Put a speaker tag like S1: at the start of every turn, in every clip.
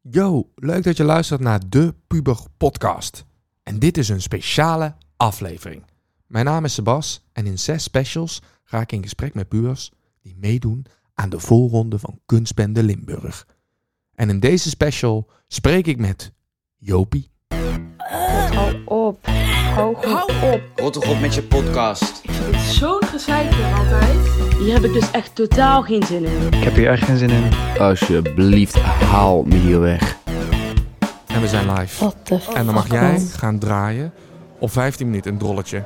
S1: Yo, leuk dat je luistert naar de Puber Podcast. En dit is een speciale aflevering. Mijn naam is Sebas en in zes specials ga ik in gesprek met pubers die meedoen aan de voorronde van Kunstbende Limburg. En in deze special spreek ik met Jopie,
S2: Hou op. Hou goed op.
S3: Rot toch op met je podcast.
S4: Het is zo'n gezeik hier altijd.
S2: Hier heb ik dus echt totaal geen zin in.
S5: Ik heb hier echt geen zin in.
S6: Alsjeblieft, haal me hier weg.
S1: en we zijn live.
S2: Wat de
S1: En dan mag jij gaan draaien op 15 minuten een drolletje.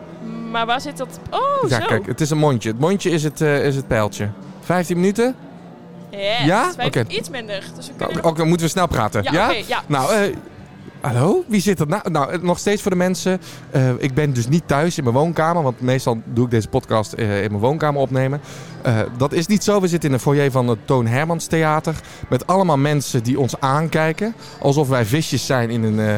S4: Maar waar zit dat? Oh,
S1: ja,
S4: zo.
S1: kijk, het is een mondje. Het mondje is het, eh, is het pijltje. 15 minuten?
S4: Yes.
S1: Ja?
S4: Wij hebben
S1: Oké.
S4: iets minder. Dus we
S1: Nou,
S4: kunnen...
S1: Oké, moeten we snel praten.
S4: Ja,
S1: Ja?
S4: oké, ja.
S1: Nou, eh, hallo? Wie zit er nou? Nou, eh, nog steeds voor de mensen. eh, ik ben dus niet thuis in mijn woonkamer. Want meestal doe ik deze podcast eh, in mijn woonkamer opnemen. Eh, dat is niet zo. We zitten in een foyer van het Toon Hermans Theater. Met allemaal mensen die ons aankijken. Alsof wij visjes zijn in een... eh,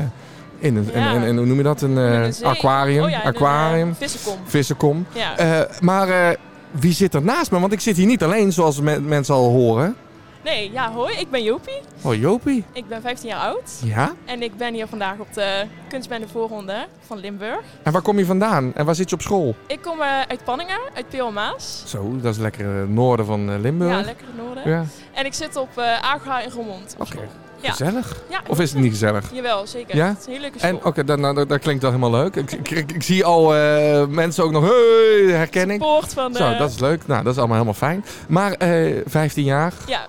S1: in een,
S4: Ja.
S1: in, in- in- hoe noem je dat? Een, eh,
S4: In een zee.
S1: aquarium.
S4: Oh ja, in een, eh,
S1: aquarium.
S4: vissenkom.
S1: Vissenkom.
S4: Ja.
S1: Eh, maar eh, wie zit er naast me? Want ik zit hier niet alleen, zoals me- mensen al horen.
S4: Nee, ja, hoi. Ik ben Jopie.
S1: Oh, Jopie.
S4: Ik ben 15 jaar oud.
S1: Ja?
S4: En ik ben hier vandaag op de kunstbende voorronde van Limburg.
S1: En waar kom je vandaan? En waar zit je op school?
S4: Ik kom eh, uit Panningen, uit Peelmaas.
S1: Zo, dat is lekker eh, noorden van eh, Limburg.
S4: Ja, lekker in het noorden.
S1: Ja.
S4: En ik zit op eh Agra in Roermond. op
S1: Oké,
S4: school. Ja.
S1: gezellig.
S4: Ja,
S1: Of is het niet gezellig?
S4: Jawel, zeker.
S1: Ja?
S4: Het is een hele leuke
S1: En
S4: school.
S1: oké, dat, nou, dat, dat klinkt wel helemaal leuk. Ik, ik, ik- ik zie al eh, mensen ook nog hey, herkenning.
S4: Poort van eh, de...
S1: Zo, dat is leuk. Nou, dat is allemaal helemaal fijn. Maar eh 15 jaar,
S4: Ja.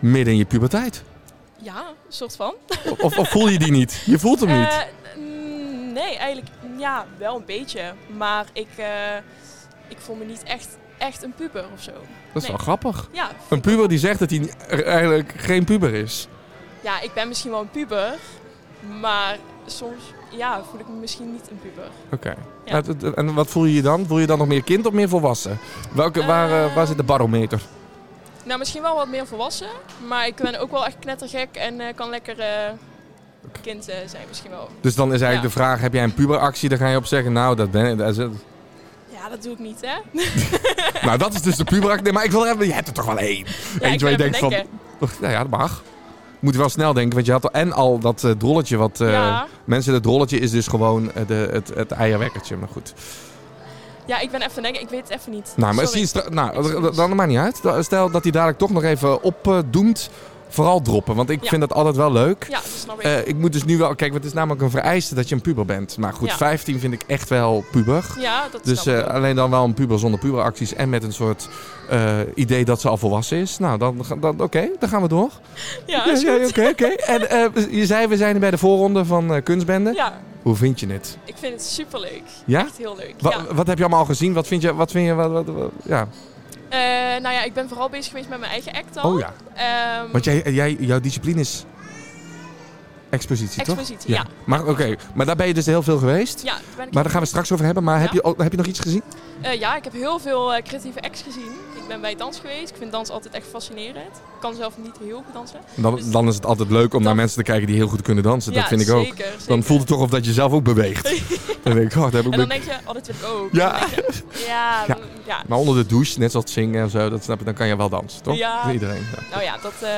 S1: midden in je puberteit.
S4: Ja, een soort van.
S1: Of, of voel je die niet? Je voelt hem niet.
S4: Eh, mm, nee, eigenlijk ja, wel een beetje. Maar ik, eh, ik voel me niet echt, echt een puber of zo.
S1: Dat is
S4: nee.
S1: wel grappig.
S4: Ja,
S1: Een puber die zegt dat hij ni- er eigenlijk geen puber is.
S4: ja, ik ben misschien wel een puber. Maar soms ja, voel ik me misschien niet een puber.
S1: Oké.
S4: Ja.
S1: Nou, dat- En wat voel je je dan? Voel je je dan nog meer kind of meer volwassen? Welke, waar, eh, waar zit de barometer?
S4: Nou, misschien wel wat meer volwassen. Maar ik ben ook wel echt knettergek en eh, kan lekker eh, kind eh, zijn misschien wel.
S1: Dus dan is eigenlijk
S4: Ja.
S1: de vraag, heb jij een puberactie? Dan ga je op zeggen, nou dat ben ik. dat is het.
S4: Ja, dat doe ik niet, hè?
S1: nou dat is dus de puberactie. Nee, maar ik wil even, je hebt er toch wel één.
S4: Ja,
S1: Eentje
S4: ik
S1: waar je
S4: ben
S1: denkt
S4: aan
S1: van,
S4: het denken.
S1: nou ja, dat mag. Moet je wel snel denken, want je had al, en al dat eh, drolletje wat... eh,
S4: Ja.
S1: Mensen, dat drolletje is dus gewoon eh, de, het, het eierwekkertje, maar goed.
S4: Ja, ik ben even aan het denken. Ik weet het even niet.
S1: Nou, maar
S4: Sorry.
S1: zie je stra- nou,
S4: Excuus.
S1: dat- dat maakt niet uit. Da- Stel dat hij dadelijk toch nog even opdoemt, vooral droppen. Want ik
S4: Ja.
S1: vind dat altijd wel leuk.
S4: Ja, dat snap ik.
S1: Eh, ik moet dus nu wel... Kijk, want het is namelijk een vereiste dat je een puber bent. Maar goed,
S4: Ja.
S1: 15 vind ik echt wel puber.
S4: ja, dat
S1: Dus
S4: snap ik.
S1: eh, alleen dan wel een puber zonder puberacties en met een soort eh, idee dat ze al volwassen is. Nou, dan, ga- dan, oké, dan gaan we door.
S4: ja, Ah, is
S1: eh, Ja, ja,
S4: goed.
S1: Oké, oké. En eh, je zei, we zijn bij de voorronde van eh, Kunstbende.
S4: Ja,
S1: Hoe vind je het?
S4: ik vind het superleuk.
S1: Ja?
S4: Echt heel leuk.
S1: Wa-
S4: ja.
S1: Wat heb je allemaal al gezien? Wat vind je? Wat vind je wat, wat- wat- ja.
S4: Eh, nou ja, ik ben vooral bezig geweest met mijn eigen act al.
S1: Oh ja.
S4: Ehm,
S1: Want jij, jij, jouw discipline is expositie, toch?
S4: Expositie, ja.
S1: Maar oké, maar daar ben je dus heel veel geweest.
S4: Ja, daar ben ik
S1: Maar daar gaan we straks over hebben. Maar heb,
S4: Ja.
S1: je, al- heb je nog iets gezien?
S4: Eh, ja, ik heb heel veel eh, creatieve acts gezien. Ik ben bij dans geweest. Ik vind dans altijd echt fascinerend. Ik kan zelf niet heel goed dansen.
S1: Dan, dan is het altijd leuk om
S4: Dan-
S1: naar mensen te kijken die heel goed kunnen dansen.
S4: Nou. ja,
S1: dat vind ik ook.
S4: Zeker, zeker.
S1: Dan voelt het toch of dat je zelf ook beweegt. Dan denk ik, oh, dat heb ik
S4: En dan
S1: be-
S4: denk je, oh, dit wil ik ook.
S1: Ja.
S4: Dan denk je, ja,
S1: Ja.
S4: ja. ja.
S1: Maar onder de douche, net zoals het zingen en zo, dat snap ik, dan kan je wel dansen, toch?
S4: Ja.
S1: Voor iedereen. ja.
S4: Nou ja, dat... eh,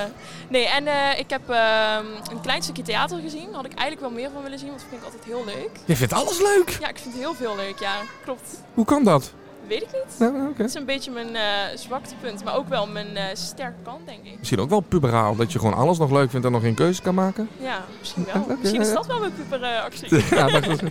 S4: Nee, en eh, ik heb ehm, een klein stukje theater gezien. Daar had ik eigenlijk wel meer van willen zien, want dat vind ik altijd heel leuk.
S1: Je vindt alles leuk.
S4: Ja, ik vind heel veel leuk, ja. Klopt.
S1: Hoe kan dat?
S4: Weet ik niet.
S1: Nou, oké.
S4: Dat is een beetje mijn eh, zwaktepunt, maar ook wel mijn eh, sterke kant, denk ik.
S1: Misschien ook wel puberaal, dat je gewoon alles nog leuk vindt en nog geen keuze kan maken.
S4: Ja, misschien wel.
S1: Ja, oké,
S4: misschien is
S1: ja.
S4: dat wel mijn eh, puberactie.
S1: ja, maar goed.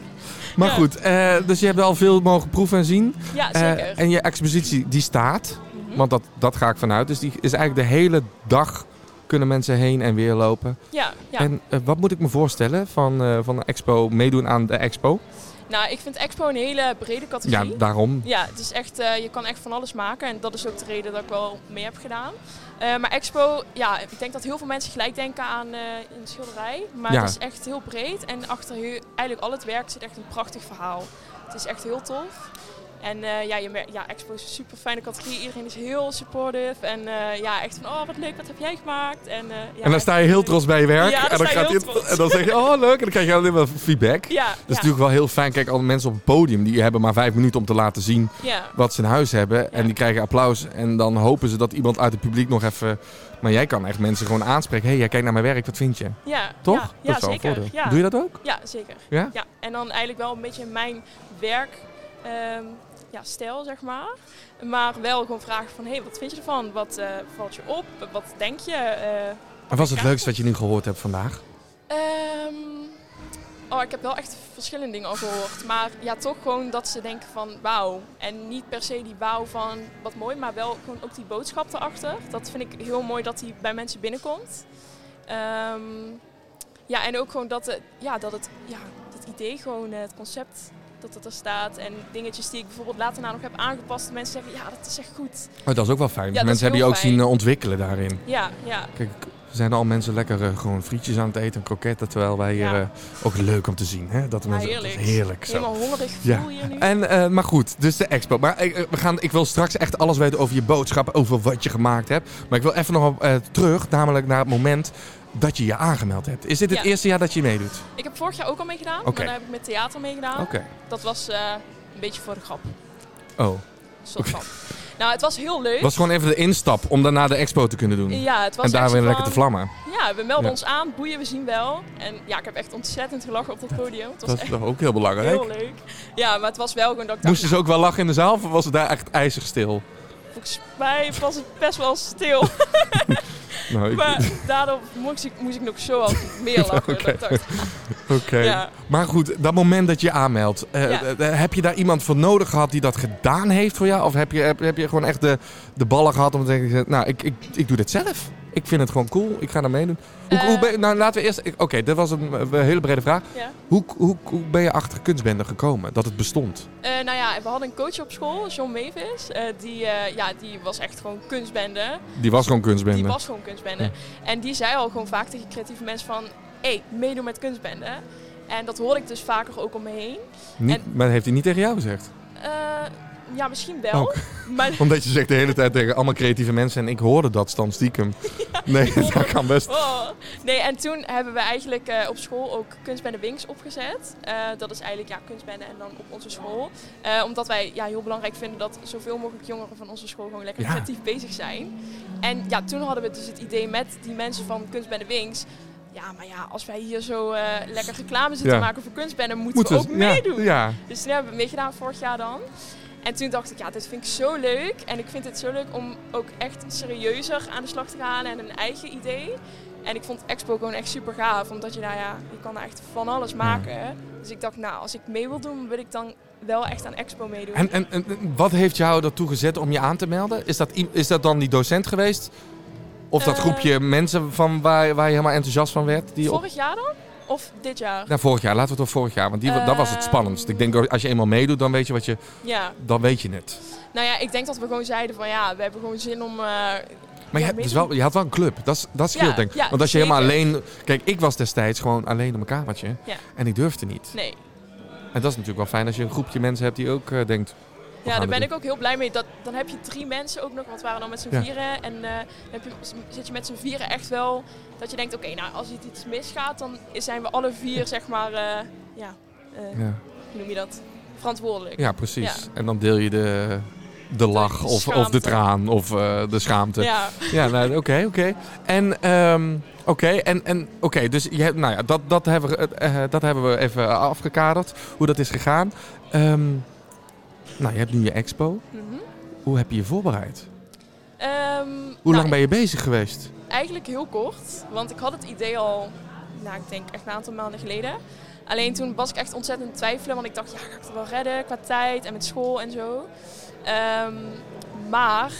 S1: Maar
S4: Ja.
S1: goed, eh, dus je hebt al veel mogen proeven en zien.
S4: ja,
S1: Eh,
S4: zeker.
S1: en je expositie, die staat.
S4: Mhm.
S1: Want dat, dat ga ik vanuit. Dus die is eigenlijk de hele dag kunnen mensen heen en weer lopen.
S4: ja, ja.
S1: En eh, wat moet ik me voorstellen van, eh, van de expo, meedoen aan de expo?
S4: nou, ik vind Expo een hele brede
S1: Ja,
S4: categorie. Ja,
S1: daarom.
S4: het is echt, eh, je kan echt van alles maken en dat is ook de reden dat ik wel mee heb gedaan. Eh, maar Expo, ja, ik denk dat heel veel mensen gelijk denken aan eh, een schilderij. Maar
S1: Ja.
S4: het is echt heel breed en achter je, eigenlijk al het werk zit echt een prachtig verhaal. Het is echt heel tof. En eh, ja, je mer- ja, Expo is een super fijne categorie. Iedereen is heel supportive. En eh, ja, echt van, oh wat leuk, wat heb jij gemaakt? En, eh, ja,
S1: en dan sta je heel trots bij je werk.
S4: Ja, dan
S1: en, dan
S4: sta je heel
S1: dit-
S4: trots.
S1: en dan zeg je, oh leuk. En dan krijg je alleen maar feedback.
S4: Ja,
S1: Dat is natuurlijk wel heel fijn. Kijk, alle mensen op het podium, die hebben maar vijf minuten om te laten zien
S4: ja.
S1: wat ze in huis hebben. En
S4: Ja.
S1: die krijgen applaus. En dan hopen ze dat iemand uit het publiek nog even... Maar jij kan echt mensen gewoon aanspreken. hey, jij kijkt naar mijn werk. Wat vind je?
S4: Ja,
S1: Toch?
S4: Ja, ja,
S1: wel een
S4: zeker.
S1: voordeel.
S4: Ja.
S1: Doe je dat ook?
S4: ja, zeker.
S1: Ja?
S4: en dan eigenlijk wel een beetje mijn werk, ehm, ja, stijl zeg maar. Maar wel gewoon vragen van, hé, hey, wat vind je ervan? Wat eh, valt je op? Wat denk je? Eh,
S1: En wat is het
S4: Ja.
S1: leukste wat je nu gehoord hebt vandaag?
S4: Ehm, oh, ik heb wel echt verschillende dingen al gehoord. Maar ja, toch gewoon dat ze denken van wauw. En niet per se die wauw van wat mooi, maar wel gewoon ook die boodschap erachter. Dat vind ik heel mooi dat die bij mensen binnenkomt. Ehm, ja, en ook gewoon dat, het- ja, dat het, ja, het idee, gewoon eh, het concept dat het er staat. En dingetjes die ik bijvoorbeeld later na nog heb aangepast. dat Mensen zeggen, ja, dat is echt goed.
S1: Oh, dat is ook wel fijn.
S4: Ja, dat is
S1: mensen hebben je
S4: heel
S1: ook
S4: fijn.
S1: zien eh, ontwikkelen daarin.
S4: Ja, ja.
S1: Kijk, er zijn al mensen lekker eh, gewoon frietjes aan het eten en kroketten. Terwijl wij hier
S4: Ja.
S1: eh, ook leuk om te zien. Hè? Dat mensen, dat is
S4: heerlijk.
S1: heerlijk zo.
S4: Helemaal hongerig
S1: Ja.
S4: voel je nu.
S1: En, eh, maar goed, dus de expo. Maar ik, we gaan, ik wil straks echt alles weten over je boodschap, over wat je gemaakt hebt. Maar ik wil even nog op, eh, terug, namelijk naar het moment dat je je aangemeld hebt. Is dit het
S4: Ja.
S1: eerste jaar dat je meedoet?
S4: Ik heb vorig jaar ook al meegedaan,
S1: Oké.
S4: maar daar heb ik met theater meegedaan.
S1: Oké.
S4: Dat was eh, een beetje voor de grap.
S1: Oh.
S4: Soort van. Nou, het was heel leuk.
S1: Was gewoon even de instap om daarna de expo te kunnen doen.
S4: Ja, het was
S1: en daar
S4: echt
S1: weer
S4: zo
S1: lekker te
S4: van,
S1: vlammen.
S4: Ja, we melden
S1: Ja.
S4: ons aan, boeien, we zien wel. En ja, ik heb echt ontzettend gelachen op dat podium. Het was echt
S1: ook heel belangrijk.
S4: heel leuk. Ja, maar het was wel gewoon dat ik dacht,
S1: Moesten ze ook wel lachen in de zaal of was het daar echt ijzig stil?
S4: nou, volgens mij was het best wel stil.
S1: Nou, ik-
S4: maar daardoor moest ik, moest ik nog zo al meer lachen.
S1: Oké.
S4: Dat ik dacht,
S1: Oké.
S4: ja.
S1: Maar goed, dat moment dat je je aanmeldt, eh,
S4: Ja.
S1: eh, eh, heb je daar iemand voor nodig gehad die dat gedaan heeft voor jou? Of heb je, heb, heb je gewoon echt de, de ballen gehad om te denken, nou, ik, ik, ik doe dit zelf. Ik vind het gewoon cool, ik ga daar meedoen. Hoe,
S4: Eh.
S1: hoe ben je- nou, laten we eerst, ik- oké, dat was een eh, hele brede vraag.
S4: Ja.
S1: Hoe, hoe, hoe ben je achter kunstbende gekomen, dat het bestond?
S4: Eh, nou ja, we hadden een coach op school, John Mavis. Eh, die, eh, ja, die was echt gewoon kunstbende.
S1: Die was gewoon kunstbende.
S4: Die was gewoon kunstbende. En die zei al gewoon vaak tegen creatieve mensen van... Hé, meedoen met kunstbende. En dat hoor ik dus vaker ook om me heen.
S1: niet,
S4: en-
S1: Maar dat heeft hij niet tegen jou gezegd?
S4: Eh, ja, misschien wel.
S1: Ook.
S4: Maar
S1: Omdat je zegt de hele tijd tegen allemaal creatieve mensen en ik hoorde dat dan stiekem. nee, dat kan best.
S4: Oh. Nee, en toen hebben we eigenlijk eh, op school ook Kunstbende Wings opgezet. Eh, dat is eigenlijk ja, kunstbende en dan op onze school. Eh, omdat wij ja, heel belangrijk vinden dat zoveel mogelijk jongeren van onze school gewoon lekker
S1: Ja.
S4: creatief bezig zijn. En ja, toen hadden we dus het idee met die mensen van Kunstbende Wings. Ja, maar ja, als wij hier zo eh, lekker reclame zitten
S1: Ja.
S4: maken voor kunstbende, moeten
S1: Moeten
S4: we ook
S1: ze- Ja,
S4: meedoen.
S1: ja.
S4: Dus toen hebben we meegedaan vorig jaar dan. En toen dacht ik, ja, dit vind ik zo leuk. En ik vind het zo leuk om ook echt serieuzer aan de slag te gaan en een eigen idee. En ik vond Expo gewoon echt super gaaf, omdat je daar, ja, je kan daar echt van alles maken. Dus ik dacht, nou, als ik mee wil doen, wil ik dan wel echt aan Expo meedoen.
S1: En, en, en en wat heeft jou ertoe gezet om je aan te melden? Is dat, i- is dat dan die docent geweest? Of dat
S4: Eh.
S1: groepje mensen van waar, waar je helemaal enthousiast van werd? Die op...
S4: Vorig jaar dan? Of dit jaar?
S1: Nou, vorig jaar. Laten we het op vorig jaar. Want die, wa- dat was het
S4: Ehm.
S1: spannendst. Ik denk, als je eenmaal meedoet, dan weet je, wat je,
S4: Ja.
S1: dan weet je het.
S4: Nou ja, ik denk dat we gewoon zeiden van, ja, we hebben gewoon zin om... eh,
S1: Maar je,
S4: Ja,
S1: hebt dus
S4: meedoen.
S1: wel, je had wel een club. Dat, is- dat scheelt
S4: Ja,
S1: denk ik.
S4: ja,
S1: Want als je helemaal
S4: zeker.
S1: alleen... Kijk, ik was destijds gewoon alleen op mijn kamertje.
S4: Ja.
S1: En ik durfde niet.
S4: nee.
S1: En dat is natuurlijk wel fijn als je een groepje mensen hebt die ook eh, denkt...
S4: Ja, daar
S1: we
S4: ben
S1: doen.
S4: ik ook heel blij mee. Dat, dan heb je drie mensen ook nog, want we waren dan met z'n
S1: Ja.
S4: vieren. En eh, dan heb je, zit je met z'n vieren echt wel dat je denkt, oké, nou als het iets misgaat, dan zijn we alle vier, zeg maar, eh, ja, eh,
S1: Ja,
S4: hoe noem je dat? Verantwoordelijk.
S1: ja precies. En dan deel je de, de lach of, of de
S4: schaamte.
S1: traan of eh, de schaamte.
S4: Ja.
S1: Ja, nou, oké, oké. En, ehm, oké, en, en oké, dus je, hebt- nou ja, dat, dat, hebben we, eh, eh, dat hebben we even afgekaderd, hoe dat is gegaan. Ehm, nou, je hebt nu je expo.
S4: Mhm.
S1: Hoe heb je je voorbereid?
S4: Ehm,
S1: Hoe
S4: nou,
S1: lang ben je bezig geweest?
S4: Eigenlijk heel kort, want ik had het idee al, nou ik denk echt een aantal maanden geleden. Alleen toen was ik echt ontzettend in twijfelen, want ik dacht, ja, ga ik het wel redden qua tijd en met school en zo. Ehm, maar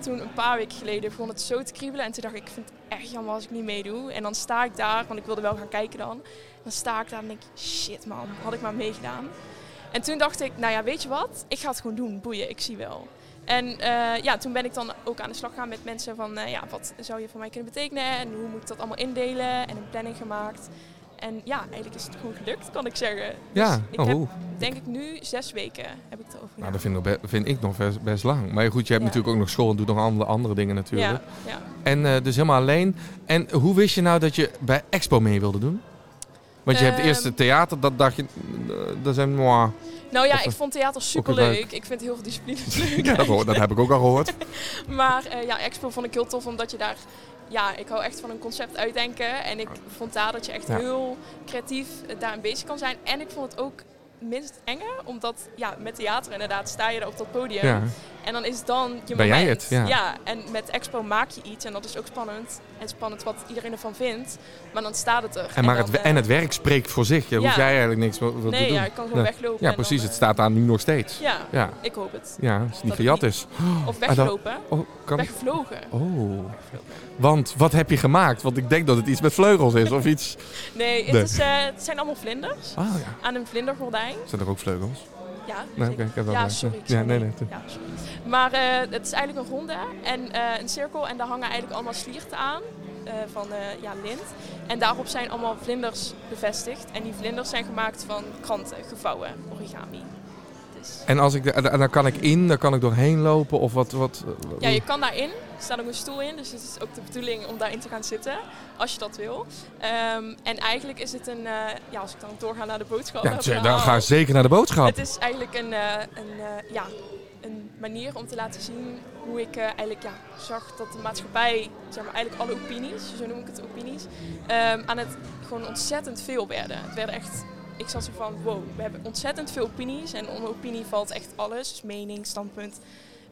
S4: toen een paar weken geleden begon het zo te kriebelen en toen dacht ik, ik vind het echt jammer als ik niet meedoe. En dan sta ik daar, want ik wilde wel gaan kijken dan. Dan sta ik daar en denk ik, shit man, had ik maar meegedaan. En toen dacht ik, nou ja, weet je wat? Ik ga het gewoon doen, boeien, ik zie wel. En eh, ja, toen ben ik dan ook aan de slag gaan met mensen van, eh, ja, wat zou je voor mij kunnen betekenen? En hoe moet ik dat allemaal indelen? En een planning gemaakt. En ja, eigenlijk is het gewoon gelukt, kan ik zeggen. Dus
S1: Ja,
S4: ik
S1: oh,
S4: heb-
S1: oeh.
S4: denk ik nu zes weken heb ik het over.
S1: nou, dat vind ik, nog be- vind ik nog best, best lang. Maar goed, je hebt
S4: Ja.
S1: natuurlijk ook nog school en doet nog andere, andere dingen natuurlijk.
S4: ja, ja.
S1: En eh, dus helemaal alleen. En hoe wist je nou dat je bij Expo mee wilde doen? Want je hebt
S4: Ehm.
S1: eerst het theater, dat dacht je, eh, dat zijn moi.
S4: Nou ja,
S1: Of,
S4: ik
S1: eh,
S4: vond theater
S1: leuk.
S4: superleuk. Ik vind heel veel disciplines leuk.
S1: Ja, dat, hoor- dat heb ik ook al gehoord.
S4: Maar eh, ja, Expo vond ik heel tof, omdat je daar... Ja, ik hou echt van een concept uitdenken. En ik vond daar dat je echt
S1: Ja.
S4: heel creatief eh, daarin bezig kan zijn. En ik vond het ook minst enger, omdat ja, met theater inderdaad sta je daar op dat podium.
S1: Ja.
S4: En dan is dan je
S1: Ben
S4: moment.
S1: jij het, ja.
S4: en met Expo maak je iets. En dat is ook spannend. En spannend wat iedereen ervan vindt. Maar dan staat het er.
S1: En, maar het,
S4: dan,
S1: we-
S4: eh,
S1: en het werk spreekt voor zich. Je
S4: ja.
S1: hoeft jij eigenlijk niks wat, te
S4: Nee,
S1: doen.
S4: ja, ik kan gewoon
S1: Nee.
S4: weglopen.
S1: Ja,
S4: en
S1: precies.
S4: dan,
S1: Het staat daar nu nog steeds.
S4: eh, Ja,
S1: Ja,
S4: ik hoop het.
S1: ja als het niet
S4: Dat
S1: gejat
S4: het
S1: is.
S4: Of
S1: Ah, dan-
S4: weglopen.
S1: Oh, kan...
S4: Weggevlogen.
S1: Oh. Want wat heb je gemaakt? Want ik denk dat het iets met vleugels is of iets.
S4: Nee, het,
S1: Nee.
S4: Is, eh, het zijn allemaal vlinders.
S1: Ah ja.
S4: Aan een vlindergordijn.
S1: Zijn er ook vleugels?
S4: Ja,
S1: Nee,
S4: zeker.
S1: Nou, oké, ik heb wel
S4: ja
S1: een-
S4: sorry. ik
S1: Ja,
S4: zei
S1: nee,
S4: nee.
S1: nee.
S4: Ja, sorry. Maar eh, het is eigenlijk een ronde en eh, een cirkel. En daar hangen eigenlijk allemaal slierten aan eh, van eh, ja, lint. En daarop zijn allemaal vlinders bevestigd. En die vlinders zijn gemaakt van kranten, gevouwen, origami. Dus,
S1: En als ik de- en dan kan ik in, dan kan ik doorheen lopen of wat. wat
S4: ja, je kan daarin. Er staat ook een stoel in, dus het is ook de bedoeling om daarin te gaan zitten, als je dat wil. Ehm, en eigenlijk is het een, eh, ja, als ik dan doorga naar de boodschap.
S1: Ja,
S4: naar het
S1: tja, dan
S4: verhaal.
S1: ga ik zeker naar de boodschap.
S4: Oh, nou. Het is eigenlijk een, eh, een, eh, ja, een manier om te laten zien hoe ik eh, eigenlijk ja, zag dat de maatschappij, zeg maar eigenlijk alle opinies, zo noem ik het opinies, ehm, aan het gewoon ontzettend veel werden. Het werden echt, ik zat zo van wow, we hebben ontzettend veel opinies en onder opinie valt echt alles, dus mening, standpunt,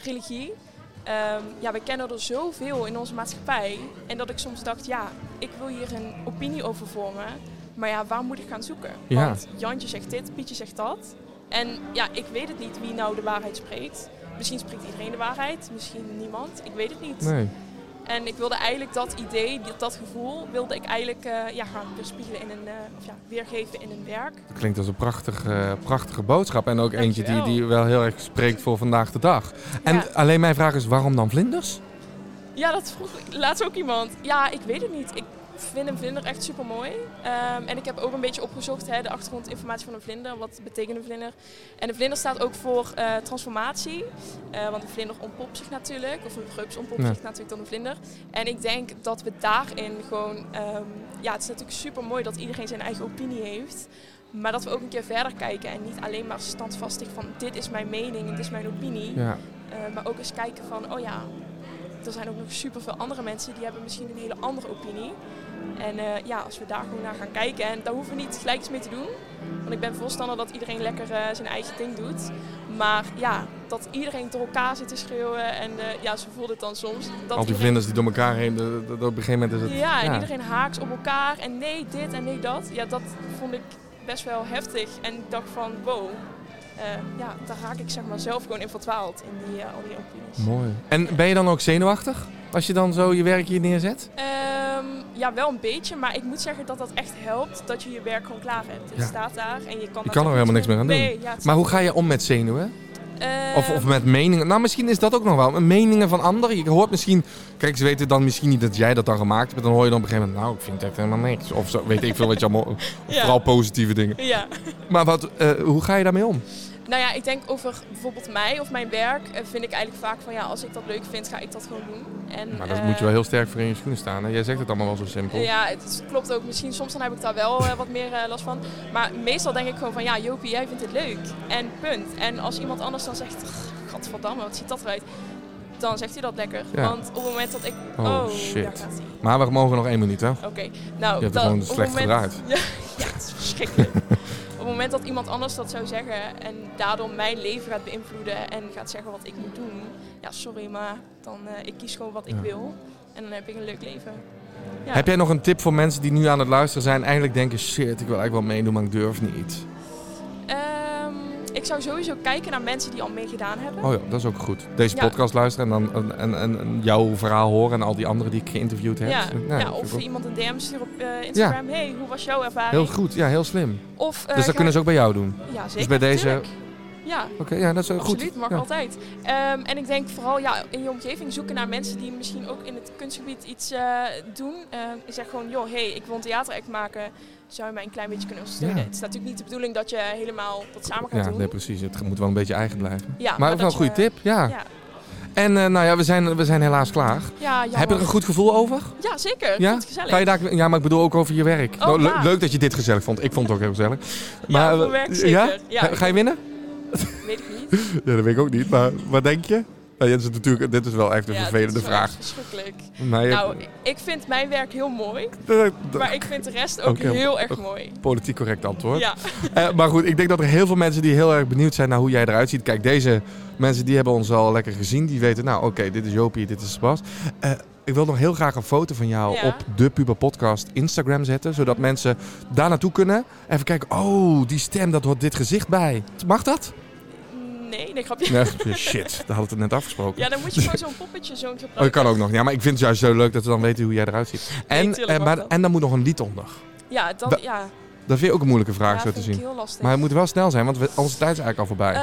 S4: religie. Ehm, ja, we kennen er zoveel in onze maatschappij en dat ik soms dacht, ja, ik wil hier een opinie over vormen, maar ja, waar moet ik gaan zoeken?
S1: Ja.
S4: Want Jantje zegt dit, Pietje zegt dat. En ja, ik weet het niet wie nou de waarheid spreekt. Misschien spreekt iedereen de waarheid, misschien niemand. Ik weet het niet.
S1: Nee.
S4: En ik wilde eigenlijk dat idee, dat, dat gevoel, wilde ik eigenlijk eh, ja, gaan weerspiegelen in een, eh, of ja, weergeven in een werk.
S1: Dat klinkt als een prachtige, prachtige boodschap. En ook eentje die,
S4: Dankjewel.
S1: die wel heel erg spreekt voor vandaag de dag. En
S4: Ja.
S1: alleen mijn vraag is, waarom dan vlinders?
S4: Ja, dat vroeg ik laatst ook iemand. Ja, ik weet het niet. Ik vind een vlinder echt super mooi. en ik heb ook een beetje opgezocht hè, de achtergrondinformatie van een vlinder. Wat betekent een vlinder? En een vlinder staat ook voor eh, transformatie. Eh, want een vlinder ontpopt zich natuurlijk. Of een rups ontpopt
S1: Ja.
S4: zich natuurlijk dan een vlinder. En ik denk dat we daarin gewoon... ehm, ja, het is natuurlijk super mooi dat iedereen zijn eigen opinie heeft. Maar dat we ook een keer verder kijken. En niet alleen maar standvastig van dit is mijn mening en dit is mijn opinie.
S1: Ja.
S4: Eh, maar ook eens kijken van, oh ja, er zijn ook nog superveel andere mensen die hebben misschien een hele andere opinie. En eh, ja, als we daar gewoon naar gaan kijken, en daar hoeven we niet gelijk iets mee te doen. Want ik ben voorstander dat iedereen lekker eh, zijn eigen ding doet. Maar ja, dat iedereen door elkaar zit te schreeuwen. En eh, ja, ze voelt het dan soms. Dat
S1: Al die
S4: iedereen-
S1: vlinders die door elkaar heen, de- de- de- op een gegeven moment is het...
S4: ja, en iedereen haaks op elkaar. En nee dit en nee dat. Ja, dat vond ik best wel heftig. En ik dacht van, wow. eh, ja, daar raak ik zeg maar zelf gewoon in verdwaald. In die, eh, al die opinies.
S1: Mooi. En ben je dan ook zenuwachtig? Als je dan zo je werk hier neerzet?
S4: Ehm, ja, wel een beetje, maar ik moet zeggen dat dat echt helpt dat je je werk gewoon klaar hebt. Het
S1: Ja.
S4: staat daar en je kan,
S1: Je kan er helemaal niks meer aan doen.
S4: Nee, ja, het
S1: Maar
S4: staat-
S1: hoe ga je om met zenuwen?
S4: Ehm,
S1: Of, of met meningen? Nou, misschien is dat ook nog wel. Meningen van anderen. Je hoort misschien... Kijk, ze weten dan misschien niet dat jij dat dan gemaakt hebt. Dan hoor je dan op een gegeven moment... Nou, ik vind het echt helemaal niks. Of zo, weet ik veel wat je allemaal...
S4: Ja.
S1: Vooral positieve dingen.
S4: eh, Ja.
S1: Maar wat, eh, hoe ga je daarmee om?
S4: Nou ja, ik denk over bijvoorbeeld mij of mijn werk eh, vind ik eigenlijk vaak van ja, als ik dat leuk vind, ga ik dat gewoon doen. En,
S1: Maar daar
S4: eh,
S1: moet je wel heel sterk voor in je schoenen staan. Hè? Jij zegt het allemaal wel zo simpel.
S4: Ja, het is- klopt ook. Misschien soms dan heb ik daar wel eh, wat meer eh, last van. Maar meestal denk ik gewoon van, ja Jopie, jij vindt het leuk. En punt. En als iemand anders dan zegt, "Ugh, gadverdamme, wat ziet dat eruit? Dan zegt hij dat lekker.
S1: Ja.
S4: Want op het moment dat ik...
S1: Oh,
S4: Oh,
S1: shit.
S4: daar gaat hij.
S1: Maar we mogen nog één minuut, hè?
S4: Oké, nou...
S1: Je hebt het
S4: dan-
S1: gewoon
S4: op het
S1: slecht
S4: moment-
S1: gedraaid.
S4: Ja, ja, het is verschrikkelijk. op het moment dat iemand anders dat zou zeggen en daardoor mijn leven gaat beïnvloeden en gaat zeggen wat ik moet doen. Ja, sorry, maar dan, eh, ik kies gewoon wat ik
S1: Ja.
S4: wil. En dan heb ik een leuk leven. Ja.
S1: Heb jij nog een tip voor mensen die nu aan het luisteren zijn... eigenlijk denken, shit, ik wil eigenlijk wel meedoen, maar ik durf niet.
S4: Ehm, ik zou sowieso kijken naar mensen die al meegedaan hebben.
S1: Oh ja, dat is ook goed. Deze
S4: Ja.
S1: podcast luisteren en dan en, en, en jouw verhaal horen... en al die anderen die ik geïnterviewd heb.
S4: ja,
S1: Nou,
S4: ja,
S1: dat
S4: of
S1: vind ik
S4: iemand een DM sturen op eh, Instagram. hey, hoe was jouw
S1: ook
S4: ervaring?
S1: Heel goed, ja, heel slim.
S4: Of, eh,
S1: dus dat
S4: ga-
S1: kunnen ze ook bij jou doen.
S4: Ja, zeker.
S1: bij deze-
S4: tuurlijk. Ja,
S1: Oké, ja, dat is eh, goed.
S4: absoluut. Mag
S1: Ja.
S4: altijd. Ehm, en ik denk vooral ja, in je omgeving zoeken naar mensen die misschien ook in het kunstgebied iets eh, doen. Ehm, ik zeg gewoon, joh, hey, ik wil een theateract maken. Zou je mij een klein beetje kunnen ondersteunen?
S1: Ja.
S4: Het is natuurlijk niet de bedoeling dat je helemaal dat samen gaat
S1: Ja,
S4: doen.
S1: nee, precies. Het moet wel een beetje eigen blijven.
S4: Ja,
S1: maar ook wel
S4: dat
S1: een goede
S4: je-
S1: tip, ja.
S4: Ja,
S1: En eh, nou ja, we zijn, we zijn helaas klaar.
S4: ja jammer.
S1: Heb je er een goed gevoel over?
S4: Ja, zeker.
S1: Ja?
S4: Vond het gezellig.
S1: Ga je daar, ja, maar ik bedoel ook over je werk.
S4: Oh,
S1: Nou, le-
S4: ja.
S1: leuk dat je dit gezellig vond. Ik vond het ook heel gezellig.
S4: Ja,
S1: eh,
S4: voor werk zeker.
S1: Ja?
S4: Ja,
S1: Ga, ga je winnen?
S4: Weet ik niet.
S1: Ja, dat weet ik ook niet. Maar wat denk je? Nou, dit, is natuurlijk, dit is wel echt een
S4: Ja,
S1: vervelende
S4: dat is wel
S1: vraag.
S4: Verschrikkelijk.
S1: Maar je-
S4: Nou, ik vind mijn werk heel mooi,
S1: dat- dat-
S4: maar ik vind de rest ook
S1: Ook heel-
S4: heel erg mooi.
S1: Politiek correct antwoord.
S4: Ja,
S1: Eh, maar goed, ik denk dat er heel veel mensen die heel erg benieuwd zijn naar hoe jij eruit ziet. Kijk, deze mensen die hebben ons al lekker gezien. Die weten, nou oké, dit is Jopie, dit is Bas. Eh, ik wil nog heel graag een foto van jou
S4: Ja. Mhm.
S1: op de Puber Podcast Instagram zetten. Zodat mensen daar naartoe kunnen. Even kijken, oh, die stem, dat hoort dit gezicht bij. Mag dat?
S4: Mm, nee, nee, grapje.
S1: Nee, shit, daar hadden we het net afgesproken.
S4: Ja, dan moet je gewoon zo'n poppetje zo'n gebruiken.
S1: Oh, dat kan ook nog. Ja, maar ik vind het juist zo leuk dat we dan weten hoe jij eruit ziet. En,
S4: Nee, tuurlijk
S1: eh,
S4: mag
S1: maar,
S4: dat.
S1: en dan moet nog een lied onder.
S4: Ja, dan,
S1: Da-
S4: ja,
S1: Dat vind je ook een moeilijke vraag
S4: ja
S1: zo
S4: vind
S1: te
S4: ik
S1: zien.
S4: heel lastig.
S1: Maar het moet wel snel zijn, want we, onze tijd is eigenlijk al voorbij.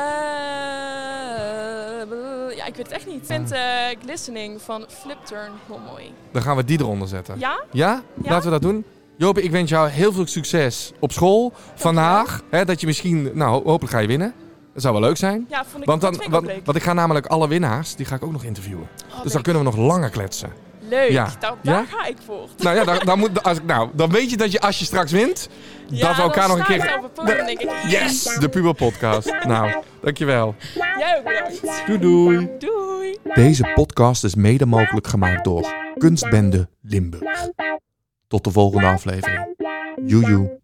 S4: Eh, ja, ik weet het echt niet. Ik vind eh, Glistening van Flipturn heel mooi.
S1: Dan gaan we die eronder zetten.
S4: Ja?
S1: Ja?
S4: Ja?
S1: Laten we dat doen. Joop, ik wens jou heel veel succes op school vandaag. Hè, dat je misschien, nou ho- hopelijk ga je winnen. Dat zou wel leuk zijn.
S4: Ja, vond ik,
S1: Want,
S4: dat
S1: dan,
S4: vind ik ook
S1: want,
S4: leuk.
S1: want ik ga namelijk alle winnaars, die ga ik ook nog interviewen.
S4: Oh,
S1: Dus dan
S4: leuk.
S1: kunnen we nog langer kletsen.
S4: Leuk,
S1: Ja.
S4: daar, daar
S1: Ja?
S4: ga ik voor.
S1: Nou ja, dan, dan, moet, als, ik- nou, dan weet je dat je als je straks wint,
S4: Ja,
S1: dat we elkaar
S4: dan
S1: nog een
S4: sta
S1: keer...
S4: ik daar op het podium, denk ik.
S1: Yes! De Puber Podcast. Nou, dankjewel.
S4: Jij ook bedankt.
S1: Doei doei.
S4: Doei.
S1: Deze podcast is mede mogelijk gemaakt door Kunstbende Limburg. Tot de volgende aflevering. Joejoe.